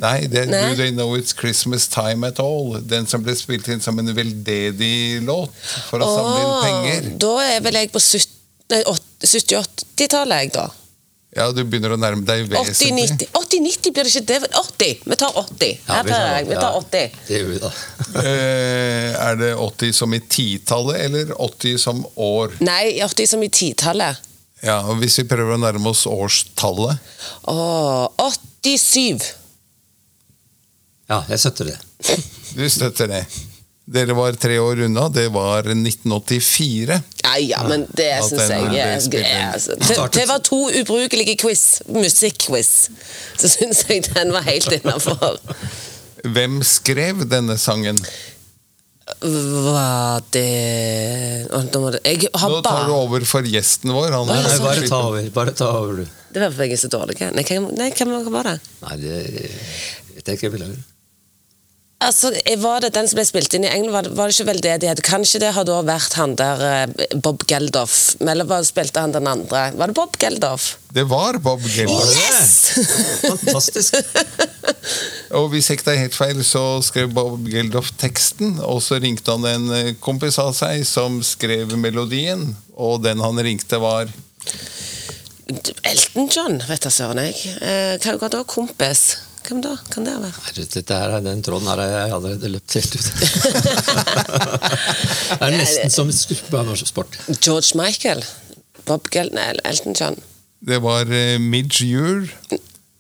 Speaker 1: Nei, det er
Speaker 2: Nei.
Speaker 1: Do They Know It's Christmas Time At All. Den som ble spilt inn som en veldedig låt for å samle inn
Speaker 2: Åh,
Speaker 1: penger.
Speaker 2: da er vel jeg på 70 nei, åt- 70-80-tallet, jeg, da.
Speaker 1: Ja, du begynner å nærme deg vesentlig.
Speaker 2: 80-90 80-90 blir det ikke det? 80! Vi tar 80.
Speaker 3: Ja,
Speaker 2: Her
Speaker 3: vi tar
Speaker 2: prøver jeg. Vi tar 80.
Speaker 3: Det gjør vi da.
Speaker 1: Eh, er det 80 som i titallet, eller 80 som år?
Speaker 2: Nei, 80 som i titallet.
Speaker 1: Ja, og Hvis vi prøver å nærme oss årstallet
Speaker 2: Åh, 87.
Speaker 3: Ja, jeg støtter det.
Speaker 1: Du støtter det. Dere var tre år unna. Det var 1984.
Speaker 2: Ja, ja, men det
Speaker 1: At
Speaker 2: syns
Speaker 1: den
Speaker 2: jeg
Speaker 1: ble
Speaker 2: er-
Speaker 1: spilt inn.
Speaker 2: er- altså, det, det var to ubrukelige quiz, musikkquiz. Så syns jeg den var helt innafor.
Speaker 1: Hvem skrev denne sangen?
Speaker 2: Var det Å, nå må det- Jeg har
Speaker 1: Nå tar du
Speaker 2: bare
Speaker 1: over for gjesten vår. Han
Speaker 2: Nei,
Speaker 3: Nei,
Speaker 1: er
Speaker 2: sant.
Speaker 3: bare ta over. bare ta over, du.
Speaker 2: Det var fordi jeg er så dårlig. Nei, hvem nei, hvem var det?
Speaker 3: Nei, det vet jeg ikke. jeg Beklager.
Speaker 2: Altså, eh, Var det den som ble spilt inn i England? Var det, var det ikke veldedighet? Kanskje det har da vært han der eh, Bob Geldof? Eller hva spilte han den andre? Var det Bob Geldof?
Speaker 1: Det var Bob Geldof.
Speaker 3: det det?
Speaker 2: Yes!
Speaker 3: Fantastisk.
Speaker 1: Og hvis jeg ikke tar helt feil, så skrev Bob Geldof teksten. Og så ringte han en eh, kompis av seg som skrev melodien. Og den han ringte, var
Speaker 2: Elton John, vet jeg søren jeg. Eh, hva hva da? Kompis? Hvem da? Kan det være?
Speaker 3: Herregud, Dette her, er- den tråden her har jeg allerede løpt helt ut. det er nesten som skup- barndomssport.
Speaker 2: George Michael? Bob Geldof? Nei, Elton John.
Speaker 1: Det var eh, Midge Jul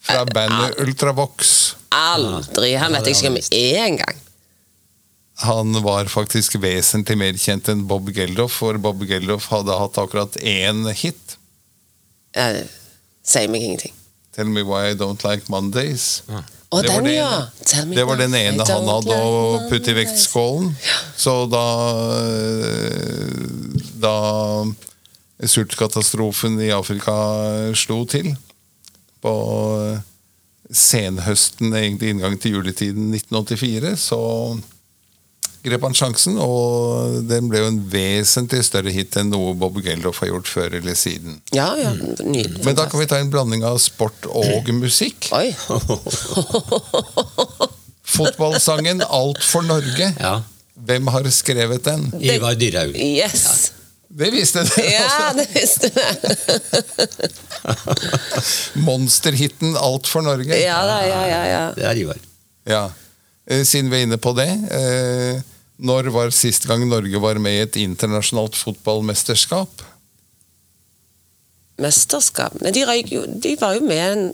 Speaker 1: fra bandet
Speaker 3: Ah.
Speaker 1: Ultravox.
Speaker 2: Aldri! Han vet jeg ikke om er engang.
Speaker 1: Han var faktisk vesentlig mer kjent enn Bob Geldof, for Bob Geldof hadde hatt akkurat én hit.
Speaker 2: Eh, Sier meg ingenting.
Speaker 1: Tell me why I don't like Mondays.
Speaker 2: Å,
Speaker 1: Det var
Speaker 2: den,
Speaker 1: det
Speaker 2: ja!
Speaker 1: ene.
Speaker 2: Tell me
Speaker 1: Det var
Speaker 2: why
Speaker 1: den ene
Speaker 2: I
Speaker 1: han
Speaker 2: don't
Speaker 1: hadde å
Speaker 2: like
Speaker 1: putte i
Speaker 2: Mondays.
Speaker 1: vektskålen. Så da eh, Da sultkatastrofen i Afrika slo til på eh, senhøsten, egentlig inngang til juletiden 1984, så grep han sjansen, og den ble jo en vesentlig større hit enn noe Bob Geldof har gjort før eller siden.
Speaker 2: Ja, ja. Nydelig.
Speaker 1: Men da kan vi ta en blanding av sport og musikk.
Speaker 2: Oi.
Speaker 1: Fotballsangen 'Alt for Norge'.
Speaker 3: Ja.
Speaker 1: Hvem har skrevet den?
Speaker 3: Ivar Dyrhaug.
Speaker 2: Yes!
Speaker 1: Det visste dere
Speaker 2: Ja,
Speaker 1: også.
Speaker 2: det visste vi!
Speaker 1: Monsterhiten 'Alt for Norge'.
Speaker 2: Ja da, ja, ja. ja.
Speaker 3: Det er Ivar.
Speaker 1: Ja. Eh, Siden vi er inne på det. eh, Når var sist gang Norge var med i et internasjonalt fotballmesterskap?
Speaker 2: Mesterskap Nei, de, røyk jo, de var jo med en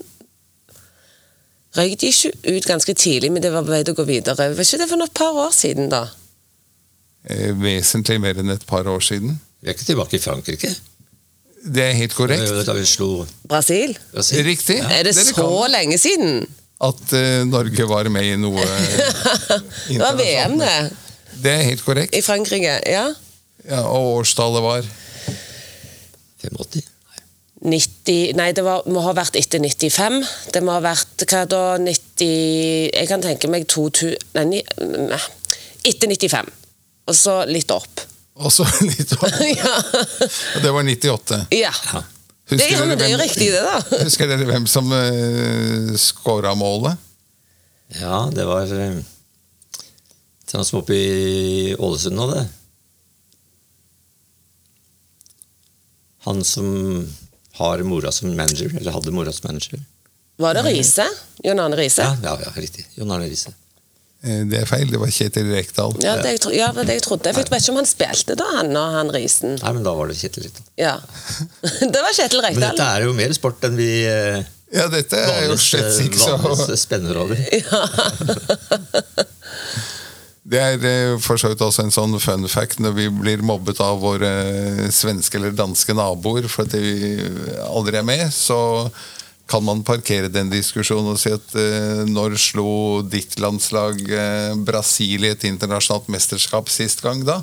Speaker 2: Røyk de ikke ut ganske tidlig, men det var på vei til å gå videre. Var ikke det for et par år siden, da?
Speaker 1: Eh, Vesentlig mer enn et par år siden.
Speaker 3: Vi er ikke tilbake i Frankrike.
Speaker 1: Det er helt
Speaker 3: Det
Speaker 1: korrekt.
Speaker 3: var jo Da vi slo
Speaker 2: Brasil?
Speaker 3: Brasil.
Speaker 1: Riktig.
Speaker 2: er det
Speaker 1: Dere
Speaker 2: så
Speaker 1: kan
Speaker 2: lenge siden?
Speaker 1: At eh, Norge var med i noe eh,
Speaker 2: Det var VM,
Speaker 1: internasjonalt.
Speaker 2: det.
Speaker 1: Det er helt korrekt.
Speaker 2: I Frankrike. Ja.
Speaker 1: Ja, og årstallet var
Speaker 3: 85.
Speaker 2: 90 Nei, det var, må ha vært etter 95. Det må ha vært hva da 90 Jeg kan tenke meg 2000 Nei, ni- nei. etter 95. Og så litt opp.
Speaker 1: også litt opp.
Speaker 2: ja.
Speaker 1: Det var 98.
Speaker 2: ja. Det, ja, men det er jo riktig, det, da.
Speaker 1: Husker dere hvem som uh, scora målet?
Speaker 3: Ja, det var eh, Sånn som oppe i Ålesund nå, det. Han som har mora som manager, eller hadde mora som manager.
Speaker 2: Var det Riise? Jon Arne Riise?
Speaker 3: Ja, ja, ja riktig. Jon Arne Riise.
Speaker 1: Eh, Det er feil, det var Kjetil Rekdal.
Speaker 2: Ja, det jeg, tro- ja, det var det jeg trodde. For jeg vet ikke om han spilte da, han og han Riisen.
Speaker 3: Nei, men da var det Kjetil Rekdal.
Speaker 2: Ja. Det var Kjetil
Speaker 3: Men
Speaker 2: Rekdal.
Speaker 3: dette er jo mer sport enn vi eh,
Speaker 1: Ja, dette er jo slett
Speaker 3: vanligvis, eh,
Speaker 1: ikke så
Speaker 3: vanligvis spenner over.
Speaker 1: Det er eh, for så vidt også en sånn fun fact når vi blir mobbet av våre eh, svenske eller danske naboer for at de aldri er med, så kan man parkere den diskusjonen og si at eh, når slo ditt landslag eh, Brasil i et internasjonalt mesterskap sist gang, da?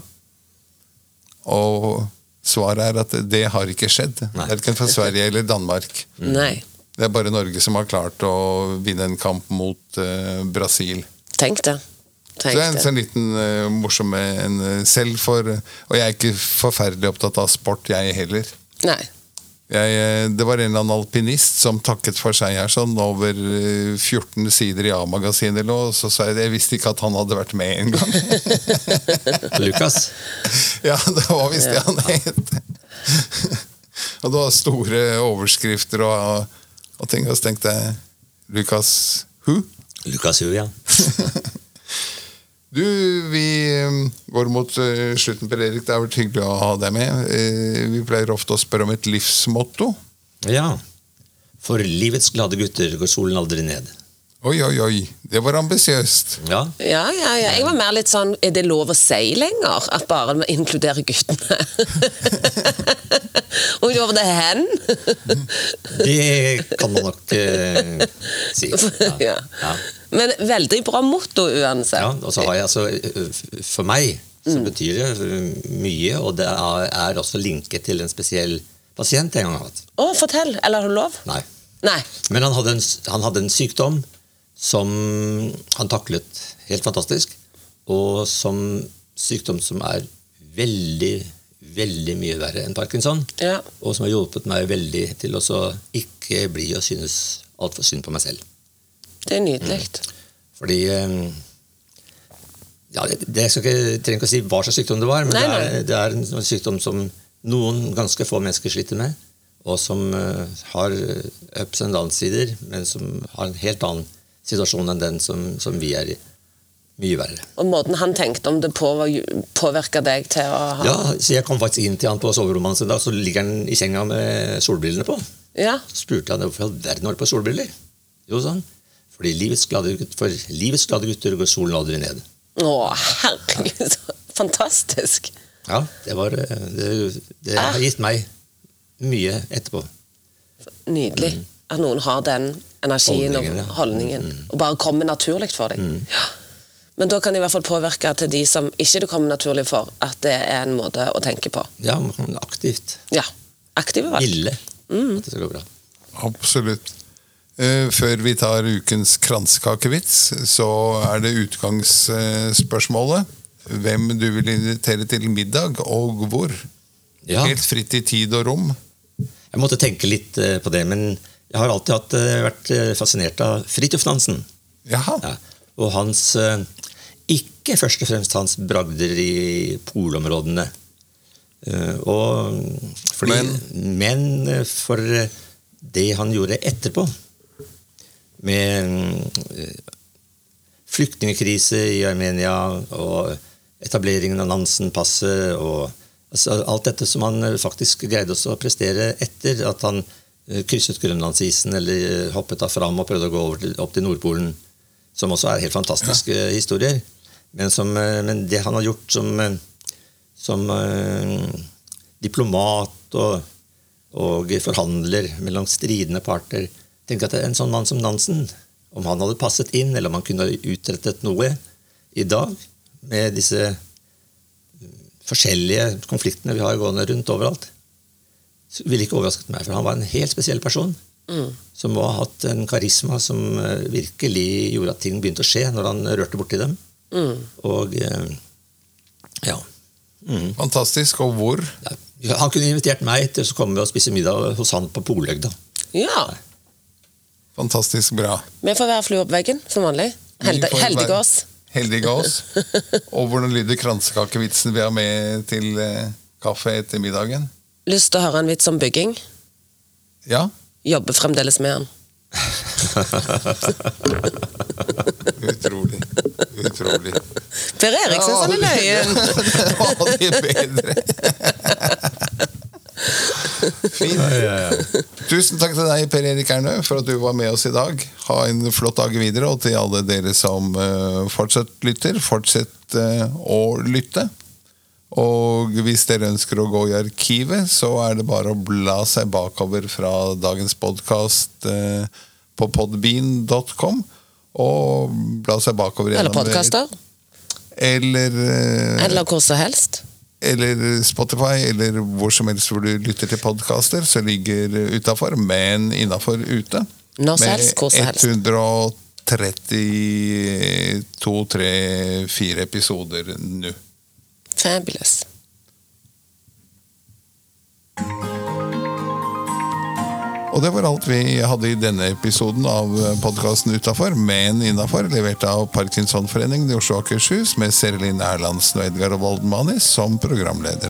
Speaker 1: Og svaret er at det har ikke skjedd.
Speaker 3: Nei.
Speaker 1: Verken for Sverige eller Danmark.
Speaker 2: Nei.
Speaker 1: Det er bare Norge som har klart å vinne en kamp mot eh, Brasil.
Speaker 2: Tenk det.
Speaker 1: Så
Speaker 2: Tenk
Speaker 1: det er en
Speaker 2: det.
Speaker 1: sånn liten eh, morsom eh, en, eh, selv for Og jeg er ikke forferdelig opptatt av sport, jeg heller.
Speaker 2: Nei.
Speaker 1: Jeg, eh, det var en eller annen alpinist som takket for seg her sånn over eh, 14 sider i A-magasinet eller noe, og så sa jeg jeg visste ikke at han hadde vært med en gang.
Speaker 3: Lukas.
Speaker 1: ja, det var visst det han het. og det var store overskrifter og, og ting, og så tenkte jeg Lukas who?
Speaker 3: Lukas Hu, ja.
Speaker 1: Du, vi eh, går mot eh, slutten, Per Erik. Det har vært hyggelig å ha deg med. Eh, Vi pleier ofte å spørre om et livsmotto.
Speaker 3: Ja. For livets glade gutter går solen aldri ned.
Speaker 1: Oi, oi, oi. Det var ambisiøst.
Speaker 3: Ja,
Speaker 2: Ja, ja, ja. Jeg var mer litt sånn Er det lov å si lenger? At bare vi inkluderer guttene? Og ikke over det hen?
Speaker 3: det kan man nok eh, si.
Speaker 2: Ja.
Speaker 3: ja.
Speaker 2: Men veldig bra motto uansett.
Speaker 3: Ja, og så har jeg altså eh, For meg så betyr det eh, mye, og det er er også linket til en spesiell pasient jeg en gang har hatt.
Speaker 2: Å, fortell! Eller har du lov?
Speaker 3: Nei.
Speaker 2: Nei.
Speaker 3: Men han hadde, en, s- han hadde en sykdom som han taklet helt fantastisk, og som sykdom som er veldig, veldig mye verre enn parkinson,
Speaker 2: Ja.
Speaker 3: og som har hjulpet meg veldig til å så ikke bli og synes altfor synd på meg selv.
Speaker 2: Det er nydelig.
Speaker 3: Mm. Fordi eh, ja, det, det skal ikke, jeg trenger ikke å si hva slags sykdom det var, men
Speaker 2: Nei,
Speaker 3: det, er, det er en sånn sykdom som noen ganske få mennesker sliter med, og som eh, har ups and downs-sider, men som har en helt annen situasjon enn den som, som vi er i. Mye verre.
Speaker 2: Og måten han tenkte om det på, påvirka deg til å ha
Speaker 3: Ja, så Jeg kom faktisk inn til han på soverommet hans en dag, så ligger han i senga med solbrillene på.
Speaker 2: Ja.
Speaker 3: Så spurte han hvorfor i all verden var du på solbriller. Jo, sa han. Fordi livets glade gutter, for livets glade gutter går solen aldri ned.
Speaker 2: Å, herregud, så fantastisk.
Speaker 3: Ja, det, var, eh, det, det har gitt meg mye etterpå.
Speaker 2: Nydelig
Speaker 1: Mm.
Speaker 2: at noen har den energien
Speaker 3: Holdningen, ja.
Speaker 2: og holdningen,
Speaker 1: mm.
Speaker 2: og bare kommer naturlig for deg. Ja. Men da kan det i hvert fall påvirke til de som ikke det kommer naturlig for, at det er en måte å tenke på.
Speaker 3: Ja, man kan aktivt
Speaker 2: Ja. Aktive valg.
Speaker 3: ville at det skal gå bra.
Speaker 1: Absolutt. Eh, Før vi tar ukens kransekakevits, så er det utgangsspørsmålet. Hvem du vil invitere til middag, og hvor.
Speaker 3: Ja,
Speaker 1: Helt fritt i tid og rom.
Speaker 3: jeg måtte tenke litt eh, på det, men jeg har alltid hatt, eh, vært eh, fascinert av Fridtjof Nansen.
Speaker 1: Jaha.
Speaker 3: Ja. Og hans eh, Ikke først og fremst hans bragder i polområdene. Eh, Og fordi, men. eh, for eh, det han gjorde etterpå. Med eh, flyktningkrise i Armenia og etableringen av Nansen-passet og altså, alt dette som han eh, faktisk greide også å prestere etter at han eh, krysset Grønlandsisen eller eh, hoppet da fram og prøvde å gå over til, opp til Nordpolen som også er helt fantastiske eh, historier. Men, som, eh, men det han har gjort som, eh, som eh, diplomat og, og forhandler mellom stridende parter Tenk at en sånn mann som Nansen, om han hadde passet inn, eller om han kunne utrettet noe i dag med disse mm, forskjellige konfliktene vi har gående rundt overalt, så ville ikke overrasket meg, for han var en helt spesiell person som må ha hatt en karisma som eh, virkelig gjorde at ting begynte å skje når han rørte borti dem.
Speaker 2: Mm.
Speaker 3: Og eh, ja. Mm.
Speaker 1: Fantastisk. Og hvor?
Speaker 3: Ja, Han kunne invitert meg til å komme og spise middag hos han på Poløgda.
Speaker 2: Ja.
Speaker 1: Fantastisk bra.
Speaker 2: Vi får være flue opp veggen, som vanlig. Helde,
Speaker 1: Vi får
Speaker 2: heldige
Speaker 1: være-
Speaker 2: oss.
Speaker 1: Heldige oss. Og hvordan lyder kransekakevitsen vi har med til eh, kaffe etter middagen?
Speaker 2: Lyst til å høre en vits om bygging?
Speaker 1: Ja,
Speaker 2: Jobber fremdeles med den.
Speaker 1: utrolig. Utrolig.
Speaker 2: Per Eriksen som er løyen!
Speaker 1: Det var aldri bedre. Fint. Tusen takk til deg, Per Erik Ernø, for at du var med oss i dag. Ha en flott dag videre, og til alle dere som eh, fortsatt lytter, fortsett eh, å lytte. Og hvis dere ønsker å gå i arkivet, så er det bare å bla seg bakover fra dagens podkast på podbean.com. Og bla seg bakover
Speaker 2: Eller
Speaker 1: gjennom-
Speaker 2: podkaster.
Speaker 1: Eller, eh,
Speaker 2: Eller hvor som helst.
Speaker 1: eller Spotify, eller hvor som helst hvor du lytter til podkaster, så ligger utafor, men innafor ute.
Speaker 2: Når som helst, hvor som helst.
Speaker 1: Med 132, 3, 4 episoder nå.
Speaker 2: Fabulous.
Speaker 1: Og det var alt vi hadde i denne episoden av podkasten Utafor, men innafor, levert av Parkinsonforeningen i Oslo og Akershus, med Serelin Erlandsen og Edgar Ovolden Manis som programleder.